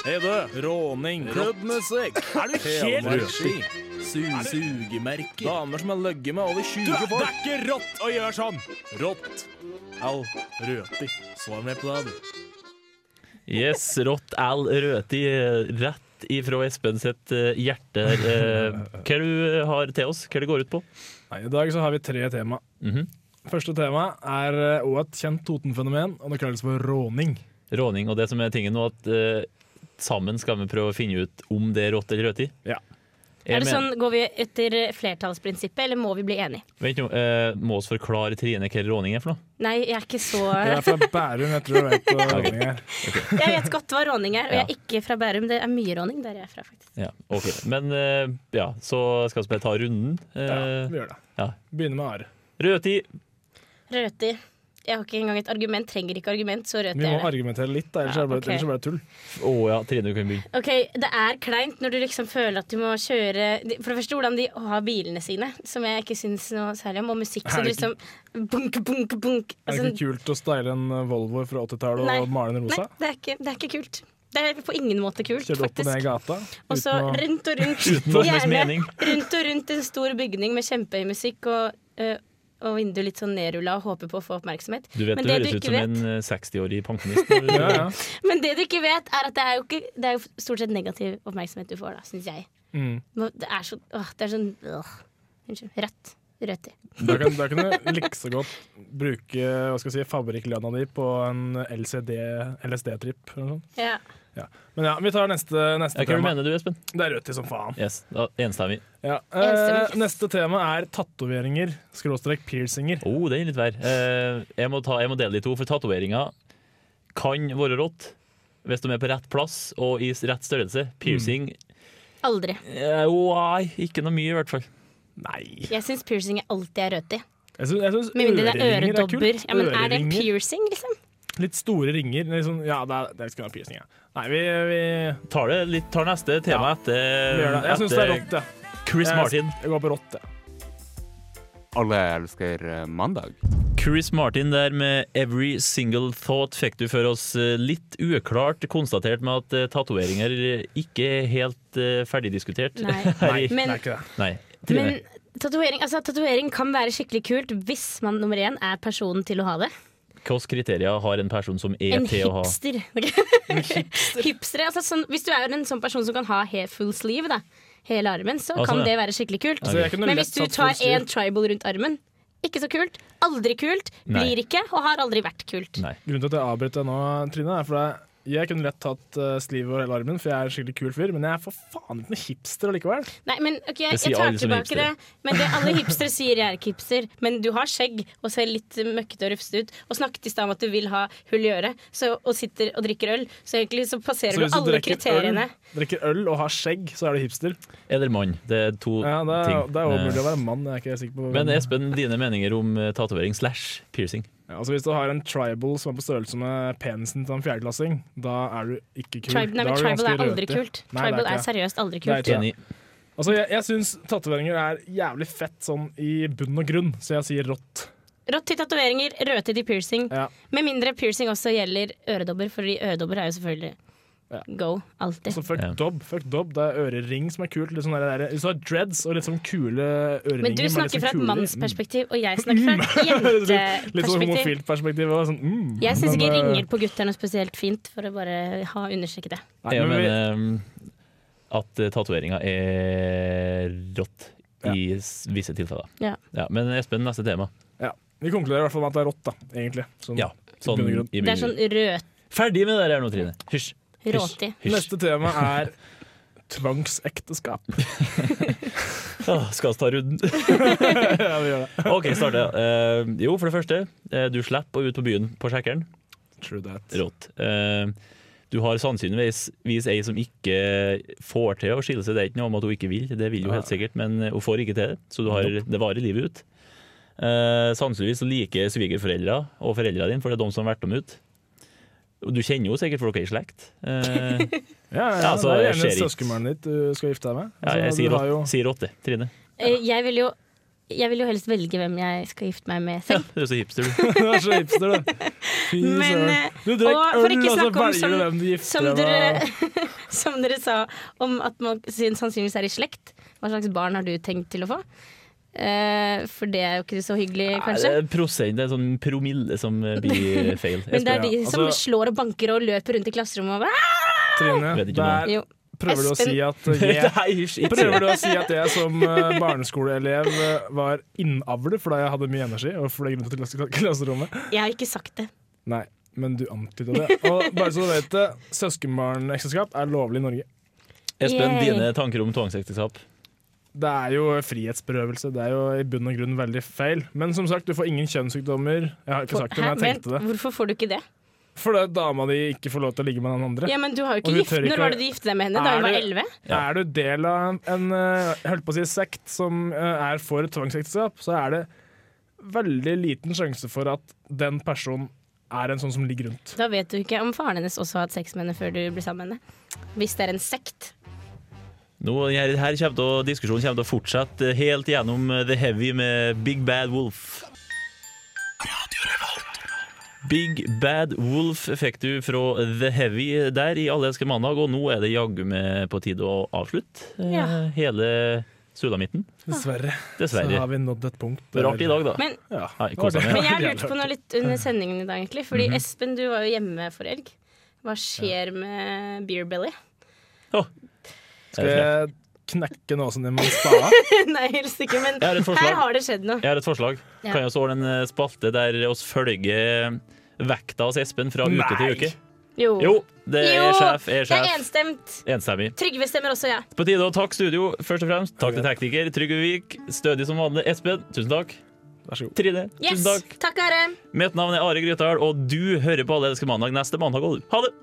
[SPEAKER 4] Hei, du! Råning.
[SPEAKER 1] Klubbmusikk,
[SPEAKER 4] Er du helt
[SPEAKER 1] helmarski, sugemerker
[SPEAKER 4] Damer som har løgget med over 20
[SPEAKER 1] folk.
[SPEAKER 4] Det er ikke rått å gjøre sånn! Rått. Al. Røti. Svar meg på det, du.
[SPEAKER 2] Yes, rått al røti, eh, rett ifra Espen sitt eh, hjerte. her. Eh, hva du har til oss? Hva det går ut på?
[SPEAKER 4] Nei, I dag så har vi tre tema.
[SPEAKER 2] Mhm.
[SPEAKER 4] Første tema er òg et kjent Toten-fenomen, og det kalles for råning.
[SPEAKER 2] Råning og det som er tingen nå, at eh, sammen skal vi prøve å finne ut om det er rått eller røti.
[SPEAKER 4] Ja.
[SPEAKER 2] Jeg
[SPEAKER 3] Er det
[SPEAKER 2] mener-
[SPEAKER 3] sånn, Går vi etter flertallsprinsippet, eller må vi bli enige?
[SPEAKER 2] Vent nå, eh, må oss forklare Trine hva råning er for noe?
[SPEAKER 3] Nei, jeg er ikke så
[SPEAKER 4] Jeg er fra Bærum, jeg tror du vet hva råning er.
[SPEAKER 3] Jeg vet godt hva råning er, og jeg
[SPEAKER 2] Ja.
[SPEAKER 3] er ikke fra Bærum. Det er mye råning der jeg er fra, faktisk.
[SPEAKER 2] Ja, ok. Men eh, ja, så skal vi bare ta runden.
[SPEAKER 4] Ja,
[SPEAKER 2] Eh,
[SPEAKER 4] vi gjør det.
[SPEAKER 2] ja.
[SPEAKER 4] Begynner med Are.
[SPEAKER 2] Røti,
[SPEAKER 3] Røti. Jeg har ikke engang et argument. Trenger ikke argument, så
[SPEAKER 4] Vi
[SPEAKER 3] røti
[SPEAKER 4] må
[SPEAKER 3] er det.
[SPEAKER 4] argumentere litt, da, ellers
[SPEAKER 3] Ja,
[SPEAKER 4] er det bare,
[SPEAKER 3] ok.
[SPEAKER 4] ellers er det bare tull.
[SPEAKER 2] Å ja, Trine, du kan begynne.
[SPEAKER 3] Ok, Det er kleint når du liksom føler at du må kjøre For det første hvordan de har bilene sine, som jeg ikke syns noe særlig om, og musikk
[SPEAKER 4] Er
[SPEAKER 3] som
[SPEAKER 4] det
[SPEAKER 3] liksom bunk, bunk, bunk.
[SPEAKER 4] Er det
[SPEAKER 3] Altså,
[SPEAKER 4] ikke kult å style en eh, Volvo fra 80-tallet
[SPEAKER 3] Nei.
[SPEAKER 4] og male den
[SPEAKER 3] nei,
[SPEAKER 4] rosa?
[SPEAKER 3] det er ikke, det er ikke kult. Det er på ingen måte kult,
[SPEAKER 4] Kjøre opp og ned i
[SPEAKER 3] faktisk.
[SPEAKER 4] gata?
[SPEAKER 3] Og så
[SPEAKER 4] uten å-
[SPEAKER 3] rundt og rundt.
[SPEAKER 2] Uten noe som helst
[SPEAKER 3] Gjerne
[SPEAKER 2] mening.
[SPEAKER 3] rundt og rundt en stor bygning med kjempehøy musikk og, eh, og vinduet litt sånn nedrulla og håper på å få oppmerksomhet.
[SPEAKER 2] Du vet det,
[SPEAKER 3] Men det
[SPEAKER 2] høres
[SPEAKER 3] du
[SPEAKER 2] ut
[SPEAKER 3] ikke
[SPEAKER 2] som en eh, 60-årig pensjonist. når du-
[SPEAKER 4] ja, ja.
[SPEAKER 3] Men det du ikke vet, er at det er jo, ikke, det er jo stort sett negativ oppmerksomhet du får, da, syns jeg.
[SPEAKER 4] Mm.
[SPEAKER 3] Nå- Det er så, åh, det er sånn åh, Unnskyld. Rødt. Rødt.
[SPEAKER 4] Da kan, da kan du likså godt bruke hva skal jeg si, fabrikklønna di på en LCD, LSD-tripp. eller noe sånt.
[SPEAKER 3] Ja.
[SPEAKER 4] Men ja, vi tar neste,
[SPEAKER 2] Ja,
[SPEAKER 4] neste
[SPEAKER 2] hva du
[SPEAKER 4] tema.
[SPEAKER 2] mener du, Espen?
[SPEAKER 4] Det er rødt i som faen.
[SPEAKER 2] Yes, da, Enstemmig.
[SPEAKER 4] Ja.
[SPEAKER 3] Enstemmig,
[SPEAKER 4] Eh,
[SPEAKER 3] yes.
[SPEAKER 4] neste tema er tatoveringer, skråstrek piercinger.
[SPEAKER 2] Oh, det er litt vær. Eh, jeg, må ta, jeg må dele de to, for tatoveringer kan være rått hvis de er på rett plass og i s- rett størrelse. Piercing
[SPEAKER 3] Aldri.
[SPEAKER 2] eh, oh, Nei, ikke noe mye, i hvert fall.
[SPEAKER 4] Nei
[SPEAKER 3] Jeg syns piercing alltid er rødt i.
[SPEAKER 4] Jeg syns, jeg syns
[SPEAKER 3] Med mindre det er
[SPEAKER 4] øreringer er
[SPEAKER 3] øredobber.
[SPEAKER 4] kult.
[SPEAKER 3] Ja, men er det
[SPEAKER 4] Øreringer.
[SPEAKER 3] piercing, liksom?
[SPEAKER 4] Litt store ringer. det er Sånn, ja, det, er, det skal være piercing, ja. Nei, vi, vi,
[SPEAKER 2] Tar, det litt, tar neste tema
[SPEAKER 4] Ja, vi gjør det.
[SPEAKER 2] etter,
[SPEAKER 4] Jeg syns det er
[SPEAKER 2] etter
[SPEAKER 4] rått, ja.
[SPEAKER 2] Chris
[SPEAKER 4] Jeg-
[SPEAKER 2] Martin.
[SPEAKER 4] Jeg går på rått, ja.
[SPEAKER 5] Alle elsker eh, mandag.
[SPEAKER 2] Chris Martin der med 'Every Single Thought' fikk du for oss eh, litt uklart konstatert med at eh, tatoveringer ikke er helt eh, ferdigdiskutert.
[SPEAKER 3] Nei.
[SPEAKER 2] Her i-
[SPEAKER 4] Det
[SPEAKER 3] Men,
[SPEAKER 4] er ikke det.
[SPEAKER 2] Nei. Trine.
[SPEAKER 3] men tatovering altså, tatovering kan være skikkelig kult hvis man nummer én er personen til å ha det.
[SPEAKER 2] Hvilke kriterier har en person som er
[SPEAKER 3] En
[SPEAKER 2] til å ha
[SPEAKER 3] hipster. Hipstere, altså, sånn, hvis du er en sånn person som kan ha he full sleeve, da, hele armen, så
[SPEAKER 2] Ah, sånn,
[SPEAKER 3] kan
[SPEAKER 2] ja.
[SPEAKER 3] det være skikkelig kult.
[SPEAKER 4] Altså, jeg kunne
[SPEAKER 3] Men
[SPEAKER 4] lett
[SPEAKER 3] hvis du
[SPEAKER 4] tatt
[SPEAKER 3] tar
[SPEAKER 4] full stil.
[SPEAKER 3] en tribal rundt armen, ikke så kult. Aldri kult.
[SPEAKER 2] Nei.
[SPEAKER 3] Blir ikke, og har aldri vært kult.
[SPEAKER 2] Nei.
[SPEAKER 4] Grunnen til at jeg avbryter deg nå, Trine, er for det- jeg kunne lett tatt uh, sleeve og hele armen, for jeg er en skikkelig kul fyr, men jeg er for faen ikke noen hipster allikevel.
[SPEAKER 3] Nei, men ok, jeg,
[SPEAKER 2] Det sier
[SPEAKER 3] jeg tar
[SPEAKER 2] alle som er
[SPEAKER 3] tilbake det. Men det alle hipstere sier, jeg er ikke hipster. Men du har skjegg og ser litt møkkete og rufsete ut, og snakket i stad om at du vil ha hull i øret, så, og sitter og drikker øl, så egentlig så passerer
[SPEAKER 4] Så hvis
[SPEAKER 3] du
[SPEAKER 4] du
[SPEAKER 3] alle
[SPEAKER 4] drikker
[SPEAKER 3] kriteriene.
[SPEAKER 4] øl, drikker øl og har skjegg, så er du hipster.
[SPEAKER 2] Eller mann. Det er to
[SPEAKER 4] Ja, det er,
[SPEAKER 2] ting.
[SPEAKER 4] det er også mulig å
[SPEAKER 2] Eh,
[SPEAKER 4] være mann, jeg er ikke helt sikker på.
[SPEAKER 2] Men eh, Espen, dine meninger om eh, tatovering slash piercing?
[SPEAKER 4] Ja, altså hvis du har en tribal som er på størrelse med penisen til en fjerdeklassing, da er du ikke kul.
[SPEAKER 3] Tribal, nei,
[SPEAKER 4] Da
[SPEAKER 3] men
[SPEAKER 4] du
[SPEAKER 3] tribal er
[SPEAKER 4] ganske
[SPEAKER 3] aldri
[SPEAKER 4] røtig.
[SPEAKER 3] kult.
[SPEAKER 4] Nei, det
[SPEAKER 3] Tribal
[SPEAKER 4] ikke
[SPEAKER 3] er
[SPEAKER 4] det.
[SPEAKER 3] seriøst aldri
[SPEAKER 4] Nei,
[SPEAKER 3] kult.
[SPEAKER 4] tror jeg.
[SPEAKER 2] Enig.
[SPEAKER 4] Altså, jeg jeg syns tatoveringer er jævlig fett sånn i bunn og grunn, så jeg sier rått.
[SPEAKER 3] Rått til tatoveringer, rødtid til piercing.
[SPEAKER 4] Ja.
[SPEAKER 3] Med mindre piercing også gjelder øredobber, fordi øredobber er jo selvfølgelig
[SPEAKER 4] Ja.
[SPEAKER 3] go, alltid.
[SPEAKER 4] Så Sånn fuck
[SPEAKER 2] Ja.
[SPEAKER 4] dob, fuck dob. Det er ørering som er kult. Litt sånn der, der. Hvis du har dreads og litt sånn kule øreringer
[SPEAKER 3] Men du
[SPEAKER 4] med litt
[SPEAKER 3] snakker
[SPEAKER 4] sånn
[SPEAKER 3] fra et
[SPEAKER 4] kuler.
[SPEAKER 3] mannsperspektiv, og jeg snakker fra et
[SPEAKER 4] Litt- Litt sånn
[SPEAKER 3] jenteperspektiv.
[SPEAKER 4] homofilt perspektiv. Og sånn, mm.
[SPEAKER 3] Jeg syns
[SPEAKER 4] Men,
[SPEAKER 3] ikke
[SPEAKER 4] eh,
[SPEAKER 3] ringer på gutter er noe spesielt fint, for å bare ha understreket det.
[SPEAKER 4] nei,
[SPEAKER 2] Jeg
[SPEAKER 4] men vi-
[SPEAKER 2] mener um, at eh, tatoveringer er rått i s- visse tilfeller.
[SPEAKER 3] Ja.
[SPEAKER 2] men Espen, neste tema.
[SPEAKER 4] Ja. Vi konkluderer i hvert fall med at det er rått, da, egentlig. Sånn.
[SPEAKER 2] Ja, sånn,
[SPEAKER 4] bunn og grunn.
[SPEAKER 2] i
[SPEAKER 3] Det er sånn
[SPEAKER 2] bunn.
[SPEAKER 3] rød,
[SPEAKER 2] Ferdig med det der nå, Trine. Hysj.
[SPEAKER 3] råtig.
[SPEAKER 2] Hysj.
[SPEAKER 4] Neste tema er tvangsekteskap.
[SPEAKER 2] Åh, Ah, skal vi ta runden?
[SPEAKER 4] ja, vi gjør det.
[SPEAKER 2] OK, starte. Eh, jo, for det første, eh, du slipper å ut på byen på sjekkeren.
[SPEAKER 4] True that.
[SPEAKER 2] Rått. Eh, du har sannsynligvis vis ei som ikke får til å skille seg. Det er ikke noe om at hun ikke vil, det vil hun helt sikkert, men eh, hun får ikke til det. Så du har, det varer livet ut. Eh, sannsynligvis liker svigerforeldre og foreldrene dine, for det er de som har vært dem ut. Og Du kjenner jo sikkert folk er i slekt. Eh,
[SPEAKER 4] Ja, ja,
[SPEAKER 2] Ja, altså,
[SPEAKER 4] det er
[SPEAKER 2] det skjer
[SPEAKER 4] gjerne
[SPEAKER 2] ikke.
[SPEAKER 4] søskenbarnet ditt du skal gifte deg med.
[SPEAKER 2] ja,
[SPEAKER 4] Altså,
[SPEAKER 2] jeg
[SPEAKER 4] du
[SPEAKER 2] sier
[SPEAKER 4] har
[SPEAKER 2] åtte,
[SPEAKER 4] jo-
[SPEAKER 2] sier åtte Trine.
[SPEAKER 3] Eh, Jeg vil jo jeg vil jo helst velge hvem jeg skal gifte meg med
[SPEAKER 2] Ja,
[SPEAKER 3] selv.
[SPEAKER 2] du er så hipster, du.
[SPEAKER 4] Du er så hipster, du. Fy
[SPEAKER 3] Men,
[SPEAKER 4] søren.
[SPEAKER 3] eh,
[SPEAKER 4] Du drekk
[SPEAKER 3] og for
[SPEAKER 4] øl,
[SPEAKER 3] ikke
[SPEAKER 4] og så
[SPEAKER 3] snakke om
[SPEAKER 4] velger
[SPEAKER 3] som-
[SPEAKER 4] du hvem du
[SPEAKER 3] Som
[SPEAKER 4] gifter deg
[SPEAKER 3] dere,
[SPEAKER 4] med.
[SPEAKER 3] som dere sa om at man syn- sannsynligvis er i slekt. Hva slags barn har du tenkt til å få? Eh, for det er jo ikke så hyggelig, kanskje.
[SPEAKER 2] Det er prosent, det er sånn promille som eh, blir feil.
[SPEAKER 3] Men det er de
[SPEAKER 4] ja,
[SPEAKER 3] som
[SPEAKER 4] altså-
[SPEAKER 3] slår og banker og løper rundt i klasserommet og bare,
[SPEAKER 4] Trine,
[SPEAKER 2] Vet ikke
[SPEAKER 4] der
[SPEAKER 3] Jo.
[SPEAKER 4] prøver du å
[SPEAKER 3] Espen.
[SPEAKER 4] si at jeg
[SPEAKER 2] Nei, hysj. ikke si det.
[SPEAKER 4] Prøver du å si at jeg som eh, barneskoleelev eh, var innavle fordi jeg hadde mye energi og fløy rundt i klasse- klasserommet?
[SPEAKER 3] Jeg har ikke sagt det.
[SPEAKER 4] Nei, men du antyda det. Og bare så du vet det, søskenbarnekteskap er lovlig i Norge.
[SPEAKER 2] Espen,
[SPEAKER 3] Yay.
[SPEAKER 2] dine tanker om tvangsekteskap?
[SPEAKER 4] Det er jo frihetsberøvelse. Det er jo i bunn og grunn veldig feil. Men som sagt, du får ingen kjønnssykdommer. Jeg har ikke sagt det,
[SPEAKER 3] Hæ?
[SPEAKER 4] men jeg
[SPEAKER 3] Vent,
[SPEAKER 4] tenkte det.
[SPEAKER 3] hvorfor får du ikke det?
[SPEAKER 4] Fordi dama di ikke får lov til å ligge med den andre.
[SPEAKER 3] Ja, men du har jo
[SPEAKER 4] Og
[SPEAKER 3] ikke
[SPEAKER 4] hun
[SPEAKER 3] gift.
[SPEAKER 4] tør ikke
[SPEAKER 3] Når
[SPEAKER 4] å-
[SPEAKER 3] var det du giftet deg med henne? Da
[SPEAKER 4] Er
[SPEAKER 3] hun var
[SPEAKER 4] det-
[SPEAKER 3] elleve?
[SPEAKER 2] Ja.
[SPEAKER 4] Er du del av en eh, jeg holdt på å si, sekt som eh, er for tvangsekteskap, så er det veldig liten sjanse for at den personen er en sånn som ligger rundt.
[SPEAKER 3] Da vet du ikke om faren hennes også har hatt sex med henne før du ble sammen med henne. Hvis det er en sekt.
[SPEAKER 2] Nå, her, her kommer til å, diskusjonen kommer til å fortsette helt gjennom eh, The Heavy med Big Bad Wolf. Big Bad Wolf fikk du fra The Heavy der i Alle elsker mandag, og nå er det jaggu meg på tide å avslutte eh,
[SPEAKER 3] Ja.
[SPEAKER 2] hele sulamitten.
[SPEAKER 4] Dessverre, så
[SPEAKER 2] Dessverre.
[SPEAKER 4] har vi nådd et punkt.
[SPEAKER 2] Rart i dag, da.
[SPEAKER 3] Men,
[SPEAKER 4] Ja. Mhm.
[SPEAKER 2] Nei, kosa
[SPEAKER 4] Det
[SPEAKER 2] meg.
[SPEAKER 4] var det.
[SPEAKER 3] men jeg lurte på noe litt under sendingen i dag, egentlig. Fordi Espen, du var jo hjemme for elg. Hva skjer med beer belly?
[SPEAKER 4] Skal jeg knekke nåsen din med en spade?
[SPEAKER 3] Nei, helst ikke, men
[SPEAKER 2] Jeg har et forslag.
[SPEAKER 3] her har det skjedd noe.
[SPEAKER 2] Jeg har et forslag.
[SPEAKER 3] Ja.
[SPEAKER 2] Kan vi også ordne en eh, spalte der oss følger vekta hos Espen fra uke til
[SPEAKER 4] Nei.
[SPEAKER 2] uke?
[SPEAKER 3] Jo.
[SPEAKER 2] Jo, det
[SPEAKER 3] Jo,
[SPEAKER 2] er sjef, er
[SPEAKER 3] Det er
[SPEAKER 2] sjef.
[SPEAKER 3] enstemt.
[SPEAKER 2] Enstemmig.
[SPEAKER 3] Trygve stemmer også, ja.
[SPEAKER 2] På tide å takke studio, først og fremst. Takk til tekniker Trygve Vik. Stødig som vanlig. Espen, tusen takk.
[SPEAKER 4] Vær så god.
[SPEAKER 2] Trine,
[SPEAKER 3] Yes.
[SPEAKER 2] tusen takk.
[SPEAKER 3] Takk, Are.
[SPEAKER 2] Mitt navn er Are Grytdal, og du hører på Alle elsker mandag neste mandag òg. Ha det!